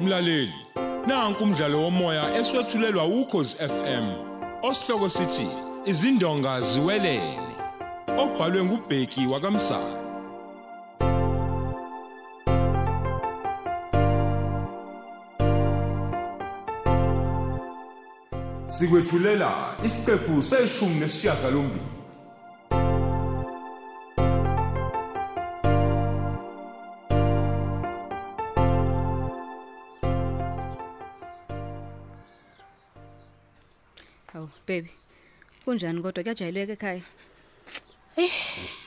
Mlaleli, nanku umdlalo womoya eswetshulelwa ukhozi FM. Osihloko sithi izindonga ziwelele. Obhalwe ngubheki wakamsana. Sikwethulela isiqephu seshumi nesishiyagalombili. Hawu baby. Kunjani kodwa kuyajayeleka ekhaya?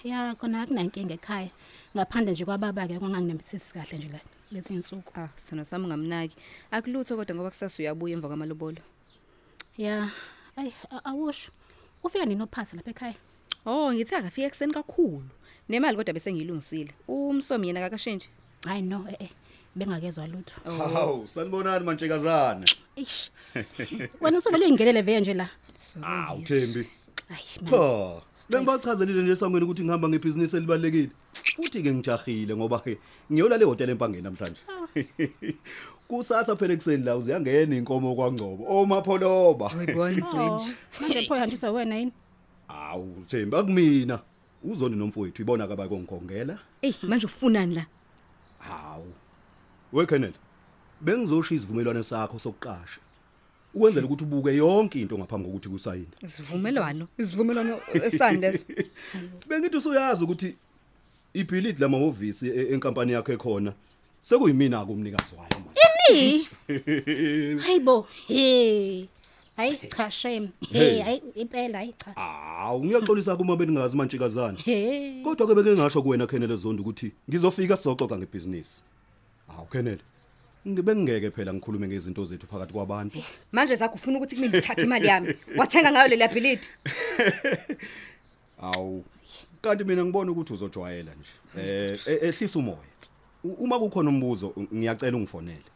ya khona akunankinga ekhaya ngaphandle nje kwababa ke kwanganginemthisi kahle nje la lezi insuku Ah, sona sami ngamnaki. Akulutho kodwa ngoba kusasa uyabuya emva kwamalobolo. ya ayi a- awusho ufika nini ophatha lapha ekhaya Oh, ngithe akafika ekseni kakhulu. Nemali kodwa bese ngiyilungisile. Umsomi yena akakashintshe. hayi no e-e bengakezwa lutho Hawu, sanibonani mantshekazana. eish wena usuvele uyingenele veye nje la Hawu Thembi. hayi man. Cha, bengibachazelile nje esangweni ukuthi ngihamba ngebhizinisi elibalekile. Futhi ke ngijahile ngoba ke ngiyola le hotel empangeni namhlanje. Kusasa phela ekseni la uziyangena inkomo kwangcobo. Omapholoba. Oh, Uyibonzweni. manje pho hanjiswa wena yini Hawu Thembi akumina. Uzoni nomfowethu ibona ka bayikongikhongela. Ey, manje ufunani la? Hawu. Wekhenela. Bengizoshiya isivumelwano sakho sokuqasha. Ukwenzela ukuthi ubuke yonke into ngaphambi kokuthi kusayini. Isivumelwano. Isivumelwano esani leso? Bengithi usuyazi ukuthi ibhilidi lamahhovisi e- enkampani yakho ekhona sekuyimina ke umnikazi wayo manje. i hayi bo he hayi cha shame he Hey. hayi impela hayi cha Hawu ngiyaxolisa kuma beningazi manje kazana. he Kodwa ke beke ngasho kuwena Kenneth Zondo ukuthi ngizofika sizoxoxa ngebusiness. Hawu Kenneth. Ngibe ngeke phela ngikhulume ngezinto zethu phakathi kwabantu. Manje sakho ufuna ukuthi kimi ngithathe imali yami. Wathenga ngayo le liability. Hawu. Kanti mina ngibona ukuthi uzojwayela nje. Eh e- ehlisa umoya. U- Uma kukhona umbuzo ngiyacela ungifonele.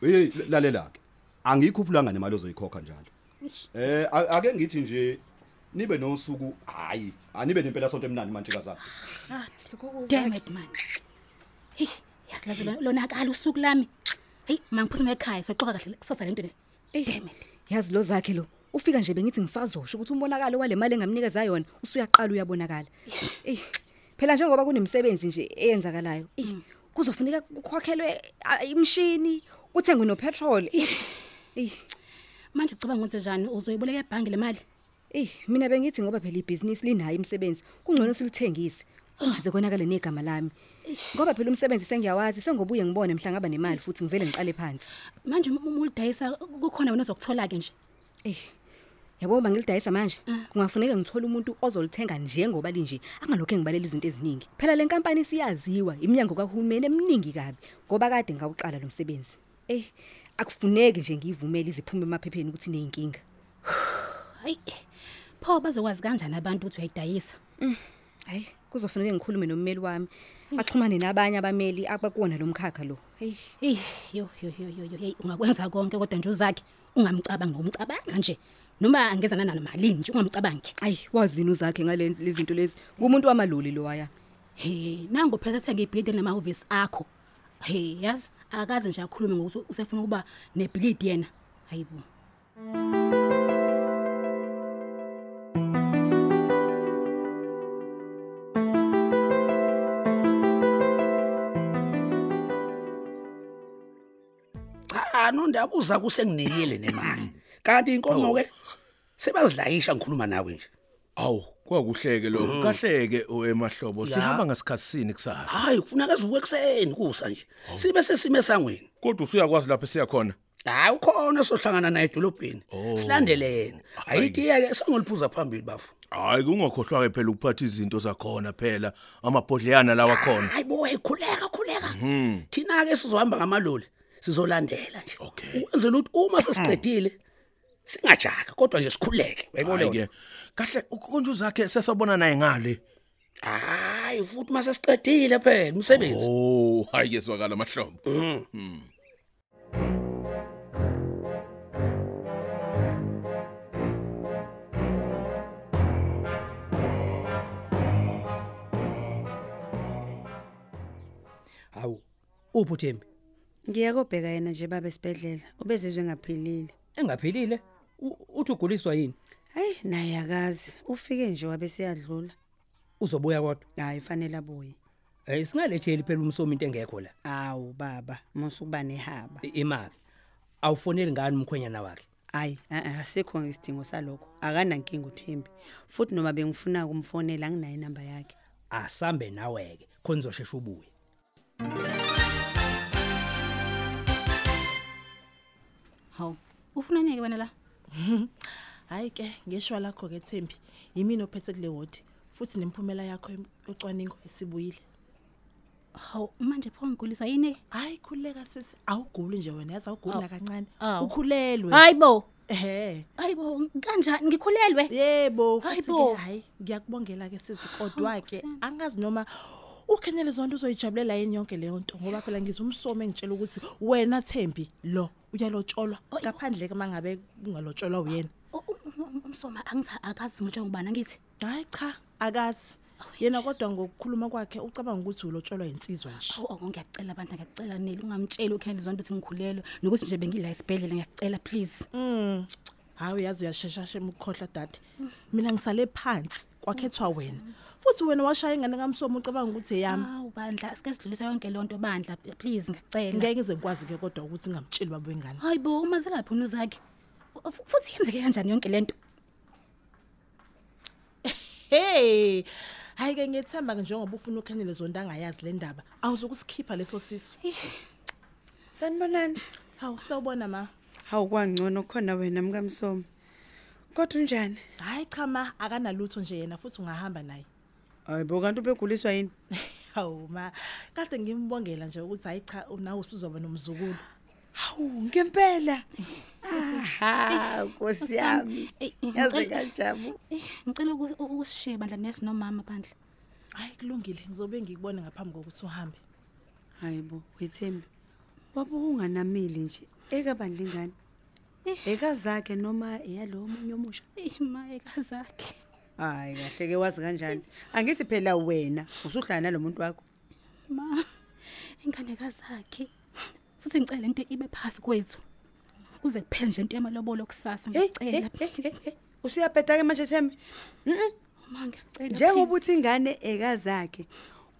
Hey lalela ke. Angikhuphulanga nemali ozoyikhokha njalo. Eh a- ake ngithi nje nibe nosuku hayi anibe nempela sonto emnandi manje kazana. Ah, damn it man hey yasilazela lona akala usuku lami hey mangiphuma ekhaya soxoxa kahle kusasa lento le damn it Yazi lo zakhe lo. Ufika nje bengithi ngisazosho ukuthi umbonakalo wale mali engamnikeza yona usuyaqala uyabonakala. Ey. Phela njengoba kunemsebenzi nje eyenzakalayo. Ey. Kuzofuneka kukhokhelwe ah, imshini, kuthengwe nopetrol. Ey. manje ucabanga ukuthi njani uzoyiboleka ebhange le mali Ey, mina bengithi ngoba phela ibhizinisi linayo imsebenzi, kungcono silithengise. Ungaze konakale negama lami. Ngoba phela umsebenzi sengiyawazi, sengobuye ngibone mhlangaba nemali futhi ngivele ngiqale phansi. manje uma uma ulidayisa kukhona wena ozokuthola ke nje Ey. Eh, Yabo bangilidayisa manje, kungafuneka ngithole umuntu ozolithenga njengoba linje, angalokho ngibalela izinto eziningi. Phela le nkampani siyaziwa, iminyango kahulumeni eminingi kabi, ngoba kade ngawuqala lo msebenzi. Ey, akufuneki nje ngivumele iziphume emaphepheni ukuthi neyinkinga. hayi pho bazokwazi kanjani abantu ukuthi uyayidayisa Hayi, kuzofuneka ngikhulume nommeli wami, axhumane nabanye abameli abakuona lo mkhakha lo. Hey, hey yo yo yo yo yo, hey ungakwenza konke kodwa nje uzakhe ungamcabanga umcabanga nje noma angezana nalo malini nje ungamcabangi ayi, wazini uzakhe ngale lezinto lezi. Kumuntu wamaloli lo waya. he nango phela sethenga ibhidi lemahhovisi akho he yazi akaze nje akhulume ngokuthi usefuna ukuba nebhilidi yena hayibo cha nondaba uza kusenginikile nemali kanti inkomo ke sebazilayisha ngikhuluma nawe nje Awu, kwakuhleke Mhm. lokho. Kahleke oh, emahlobo. Sihamba ngasikhatsini Ah. kusasa. hayi kufuneka sivuke ekseni kusa nje Oh. sibe sesime sangweni Kodwa usuyakwazi lapha siya khona. hayi ukhona sohlangana naye edolobheni Oh. silandele yena ayitiye ke sangoliphuza phambili bafu Hayi kungakhohlwa ke phela ukuphatha izinto zakhona phela, amabhodleyana lawa khona. hayi bo ekhuleka khuleka Hmm. thina ke sizohamba ngamaloli sizolandela nje Okay. ukwenzela ukuthi uma sesiqedile singajaka kodwa nje sikhuleke uyayibona Hayi yona? ke. Kahle ukonje uzakhe sesabona naye ngale. hayi futhi mase siqedile phela umsebenzi Oh, hayi ke swakala mahlobo. Oh. Hawu. Upho Thembi. ngiyakubheka yena nje baba esibedlela ubezizwe ngaphilile engaphilile u- uthi uguliswa yini hayi naye akazi ufike nje wabe siyadlula uzobuya kodwa hayi fanele abuye hey singaletheli phela umsomi into engekho la awu baba musukuba nehaba I- imali awufoneli ngani umkhwenyana wakhe hayi a-a, asikho ngisidingo salokho akanankinga uthembi futhi noma bengifuna ukumfonela anginayo inamba yakhe asambe nawe ke khona uzoshesha ubuye hawu ufunani-ke wena la hayi ke ngisho lakho ke Thembi yimini ophethe kule wodi futhi nemiphumela yakho yem- yocwaningo isibuyile hawu manje pho ngiguliswa yini hayi khululeka sisi awuguli nje wena yazi awuguli Awu. nakancane Awu. ukhulelwe hayi bo ehe hayi bo kanjani ngikhulelwe yebo Hayi futhi bo. ke hayi ngiyakubongela ke sisi kodwa ke Nkosi yami. angazi noma ukhenyele zonto uzoyijabulela yini yonke leyo nto ngoba phela ngizumsomo engitshela ukuthi wena Thembi lo uyalotsholwa Ayibo. ngaphandle ke mangabe ungalotsholwa uyena U- u- u- um, umsoma angiza- akazi ngilotshwa ngubani angithi hayi cha akazi yena kodwa ngokukhuluma kwakhe ucabanga ukuthi ulotsholwa insizwa nje awu awu ngiyakucela abantu ngiyakucela neli ungamtsheli ukhenele zonto ukuthi ngikhulelwe nokuthi nje bengila esibhedlela ngiyakucela please mm. hayi uyazi uyasheshashema ukukhohlwa dade mina ngisale phansi kwakhethwa wena futhi wena washaya ingane kamsomo ucabanga ukuthi eyami hawu bandla asike sidlulise yonke loo nto bandla please ngiyakucela ngeke ngize ngikwazi ke kodwa ukuthi ngingamtsheli babo ingane hayi bo umazelaphi unuzakhe Fu- futhi yenzeke kanjani yonke le nto hey hayi ke ngiyethemba ke njengoba ufuna ukhenele zonto angayazi le ndaba awuzukusikhipha leso sisu sanibonani hawu sewubona ma hawu kwangcono khona wena mkamsomo kodwa unjani hayi cha ma akanalutho nje yena futhi ungahamba naye hayi bo kanti ubeguliswa yini hawu ma kade ngimbongela nje ukuthi hayi cha um, nawe usuzoba nomzukulu hawu ngempela aha nkosi yami Eyi, yaze ngicela- kajabu Eh, ngicela uku- u- ukusishiye bandla nesi nomama bandla hayi kulungile ngizobe ngikubone ngaphambi kokuthi uhambe hayi bo wethembi wabe unganamile nje ekabandlingane ekazakhe noma eyalowo omunye omusha Eh, imayeka zakhe hayi kahle ke wazi kanjani angithi phela wena usuhlala nalo muntu wakho ma inganeka zakhe futhi ngicela into ibe phasi kwethu kuze kuphele nje into yamalobolo kusasa Hey, ngiyacela hey, hey, hey, hey. usuyabheda-ke eh, manje thembi Mm-mm. ma ngiyacela njengoba please. uthi ingane ekazakhe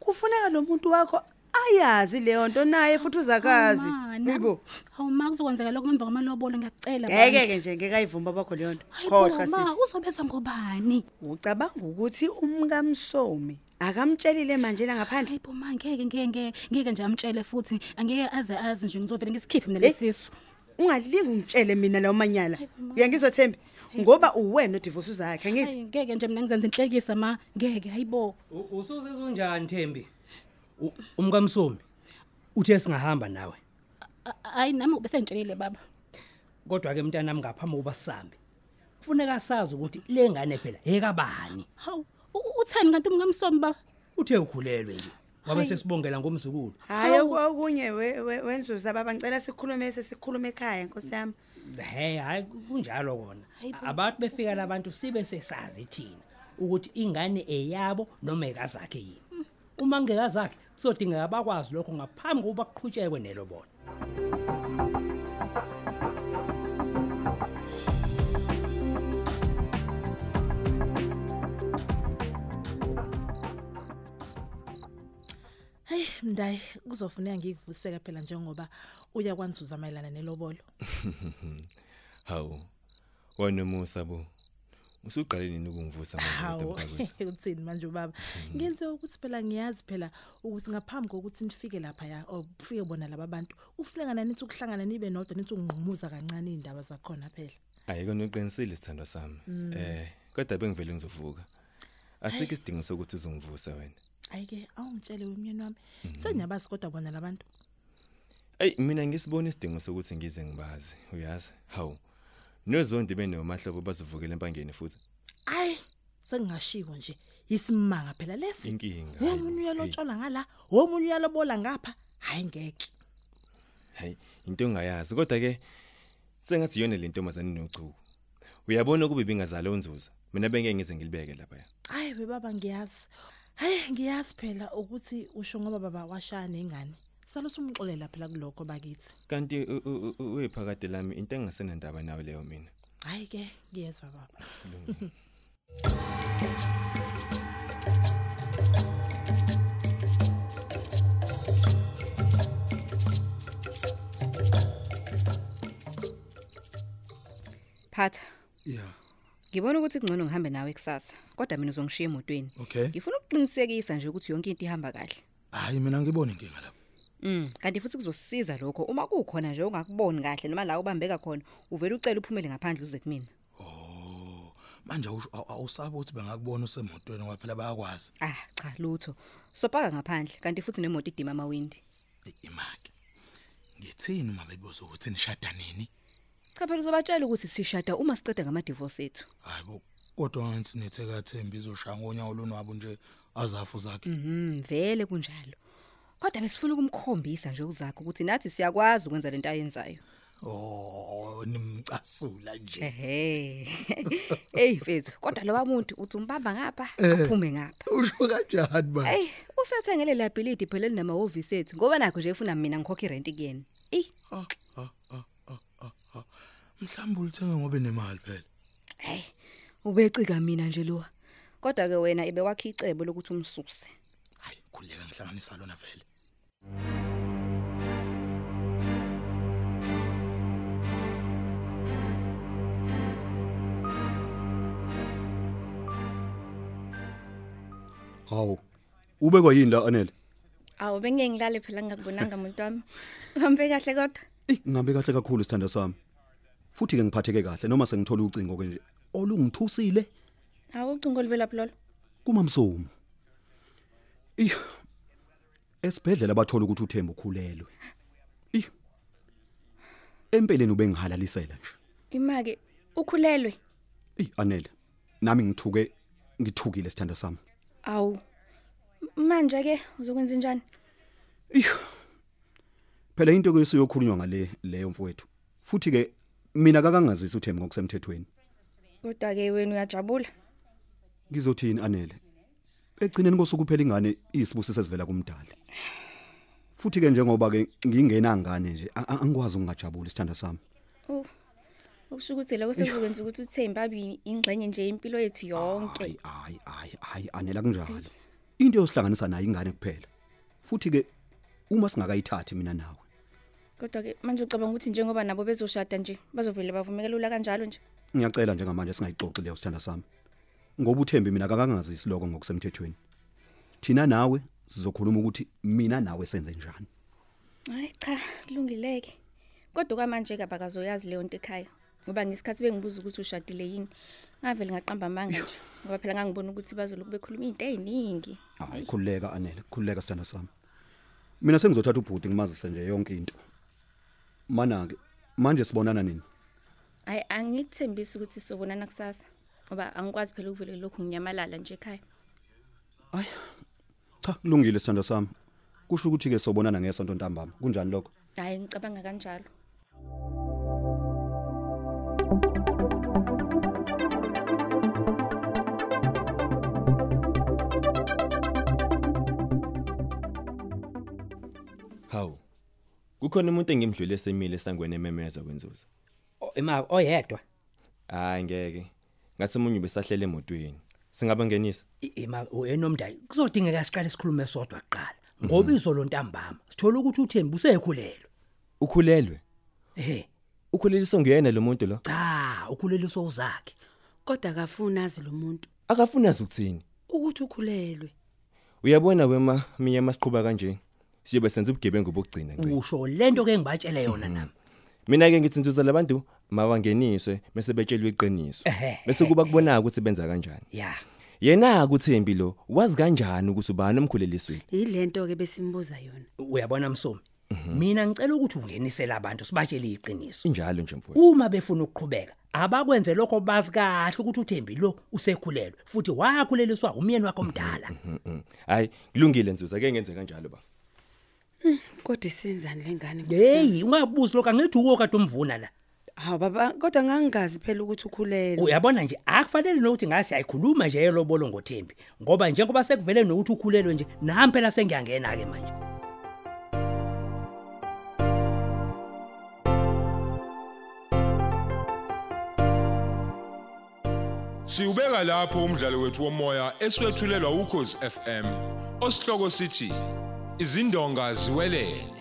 kufuneka lo muntu wakho ayazi leyo nto naye futhi uzakazi Hawu, ma, na- yibo hawu ma kuzokwenzeka lokho ngemva kwamalobolo ngiyakucela ngeke-ke nje ngekayivumba bakho leyo nto khohlwa ma sisi uzobezwa ngobani ucabanga ukuthi umkamsomi akamtshelile manje la ngaphandle hayibo ma ngeke ngeke ngeke ngeke nje amtshele futhi angeke aze azi nje ngizovele ngisikhiphe mina Hey. lesisu ungalingi ungitshele mina lawo manyala uyangizothembi ngoba uwena udivosi zakhe angithi hayi ngeke nje mina ngizenze inhlekisa ma ngeke hayibo usuzizunjani Thembi U- umkamsomi uthe singahamba nawe A- a- hayi nami ube sengitshelile baba kodwa ke mntana nami ngaphambi kokuba sihambe kufuneka sazi ukuthi le ngane phela ekabani hawu u- u- uthani kanti umkamsomi baba uthe ukhulelwe nje wabe Hayi. sesibongela ngomzukulu hhayi Hawu. okunye we- we- wenzuza baba ngicela sikhulume sesikhulume ekhaya nkosi yami he hayi ku- kunjalo kona Hayi bo. abantu befika labantu sibe sesazi thina ukuthi ingane eyabo noma ekazakhe yini uma ngekazakhe kuzodingeka bakwazi lokho ngaphambi kokuba kuqhutshekwe nelobona hayi mndayi kuzofuneka ngikuvuseke phela njengoba uya kwanzuza mayelana nelobolo hawu wanomusa bo usuqale nini ukungivusa manje hawu mntakwethu uthini manje ubaba ngenziwe ukuthi phela ngiyazi phela ukuthi ngaphambi kokuthi nifike laphaya or kufike bona laba bantu kufuneka nanithi ukuhlangana nibe nodwa nithi ungqumuza kancane iy'ndaba zakhona phela hayi kona uqinisile sithandwa sami eh kodwa bengivele ngizovuka asikho isidingo sokuthi uzongivusa wena hayi-ke awungitshele wemyeni wami sengiyabazi kodwa bona la bantu Ey mina ngisibona isidingo sokuthi ngize ngibazi uyazi hawu nozondi benomahlobo bazivukela empangeni futhi hayi sengingashiwo nje isimanga phela lesi inkinga hayi bo. womunye uyalotsholwa ngala womunye uyalobola ngapha hhayi ngeke hayi into engayazi kodwa ke sengathi iyona le ntombazane nochuku uyabona ukube bingazalo unzuza mina bengeke ngize ngilibeke lapha hayi bebaba ngiyazi hayi ngiyazi phela ukuthi usho ngoba baba washaya nengane salo simxolela phela kulokho bakithi kanti u- u- u- uyiphakade lami into engasenandaba nawe leyo mina hayi ke ngiyezwa baba phatha Yeah. ngibona ukuthi kungcono ngihambe nawe kusasa kodwa mina uzongishiya emotweni Okay. ngifuna ukuqinisekisa nje ukuthi yonke into ihamba kahle Hayi mina ngibona inkinga lapho. Mm, kanti futhi kuzosisiza lokho uma kukhona nje ongakuboni kahle noma la ubambeka khona uvele ucela uphumele ngaphandle uze kumina. Oh, Manje awusho- aw- awusabe ukuthi bengakubona usemotweni ngoba phela bayakwazi. Ah, cha lutho. Sopaka ngaphandle kanti futhi nemoto idima amawindi. Ngithini uma bebuza ukuthi nishada nini? Cha phela uzobatshela ukuthi sishada uma siqeda ngama divorce ethu. Hayi bo. Kodwa ngathi nithe kaThembi izoshaya ngonyawo lonwabo nje azafu zakhe. Mhm, vele kunjalo. Kodwa besifuna ukumkhombisa nje uzakho ukuthi nathi siyakwazi ukwenza lento ayenzayo. Oh, nimcasula nje. Eh. Ehhe. Ey mfethu, kodwa lowa muntu uthi umbamba ngapha, Eh. aphume ngapha. Usho kanjani manje? Ey, usethengele la billidi phela linamahhovisi ethu ngoba nakho nje efuna mina ngikhokhe irent kuyena. Ey, Ah, Mhlawumbe ulithenga ngoba enemali phela. hey. Ubecika mina nje lowa. Kodwa ke wena ibe wakhe icebo lokuthi umsuse. Khuleka ngihlanganisa lona vele. Hawu. Ubekwa yini la Anele? Awu bengeke ngilale phela ngingakubonanga umuntu wami. Uhambe kahle kodwa. Ngihambe kahle kakhulu sithanda sami. Futhi ke ngiphatheke kahle noma sengithola ucingo ke nje olungithusile Awu ucingo livela phi lolo? kumamsomi. Iyo. Esibhedlela bathola ukuthi uThemba ukhulelwe. Iyo. Empeleni ubengihalalisela nje. Imake ukhulelwe. Ey Anele, nami ngithuke ngithukile sithanda sami. Awu. M- Manje ke uzokwenza njani? Phela into ke siyokhulunywa ngale leyo mfowethu. Futhi ke mina kakangazisi uThemba ngokusemthethweni. Kodwa ke wena uyajabula. Ngizothini Anele? Egcineni kosuku phela ingane isibusiso esivela kumdala. Futhi ke njengoba ke ngingena ngane nje a- a- angikwazi ukungajabula sithanda sami. Oh. Ukushukuthi lokho sekuzokwenza ukuthi uThemba abi ingxenye nje impilo yethu yonke. Hayi hayi hayi Anele kunjalo. Into yosihlanganisa nayo ingane kuphela. Futhi ke uma singakayithathi mina nawe Kodwa ke manje ucabanga ukuthi njengoba nabo bezoshada nje bazovele bavumekelula kanjalo nje. Ngiyacela njengamanje singayixoxi leyo sithanda sami. Ngoba uThembi mina kakangazisi lokho ngokusemthethweni. Thina nawe sizokhuluma ukuthi mina nawe senze njani. Hayi cha, kulungileke. Kodwa kwamanje ke abakazoyazi leyo nto ekhaya. Ngoba ngesikhathi bengibuza ukuthi ushadile yini, ngavele ngaqamba amanga nje. Ngoba phela ngangibona ukuthi bazoloku bekhuluma izinto eziningi. Hayi khululeka Anele, khululeka sithanda sami. Mina sengizothatha ubhuti ngimazise nje yonke into. Mana ke manje sibonana nini? Hayi angikuthembisi ukuthi sobonana kusasa. Ngoba angikwazi phela ukuvele lokhu nginyamalala nje ekhaya. Cha kulungile sithanda sami. Kusho ukuthi ke sobonana ngesonto ntambama. Kunjani lokho? Hayi ngicabanga kanjalo. Hawu. Kukhona umuntu engimdlule semile sangwene ememeza kwenzuza. Ima oyedwa. Hayi ngeke. Ngathi umunye ubesahlela emotweni. Singabangenisa. Ima uyenomndayi. Kuzodingeka siqale sikhulume sodwa kuqala. Mhm. Ngoba izolo ntambama sithola ukuthi uThembi usekhulelwe. Ukhulelwe. Ehhe. Ukhuleliswa nguyena lo muntu lo. Cha, ukhuleliswa uzakhe. Kodwa akafuni azi lo muntu Akafuni azukuthini. ukuthi ukhulelwe. Uyabona wema minya masiqhubha kanje. Siyobe senza ubugebengu bokugcina nje. Usho lento ke ngibatshele yona Mhm. nami. Mina ke ngithi ntuza labantu mabangeniswe bese betshelwe iqiniso. Ehhe. Bese kuba kubonaka ukuthi benza kanjani. Yeah. Yena akuthembi lo wazi kanjani ukuthi ubani omkhuleliswe. Yilento ke besimbuza yona. Uyabona Msomi. Mhm. Mina ngicela ukuthi ungenisele abantu sibatshele iqiniso. Injalo nje mfowethu. Uma befuna ukuqhubeka, abakwenze lokho bazi kahle ukuthi uThembi lo usekhulelwe futhi wakhuleliswa umyeni wakho omdala. Hayi kulungile ntuza ke ngenze kanjalo ba. Kodwa isenzani lengane Hey, ungabuzi lokho angithi uwo kade umvuna la. Hawu baba, kodwa ngangingazi phela ukuthi ukhulelwe. Uyabona nje akufanele nokuthi ngase ayikhuluma nje yelobolo ngoThembi ngoba njengoba sekuvele nokuthi ukhulelwe nje nami phela sengiyangena ke manje. Siubeka lapho umdlalo wethu womoya eswetshulelwa ukhozi FM. Osihloko sithi izindonga ziwelele.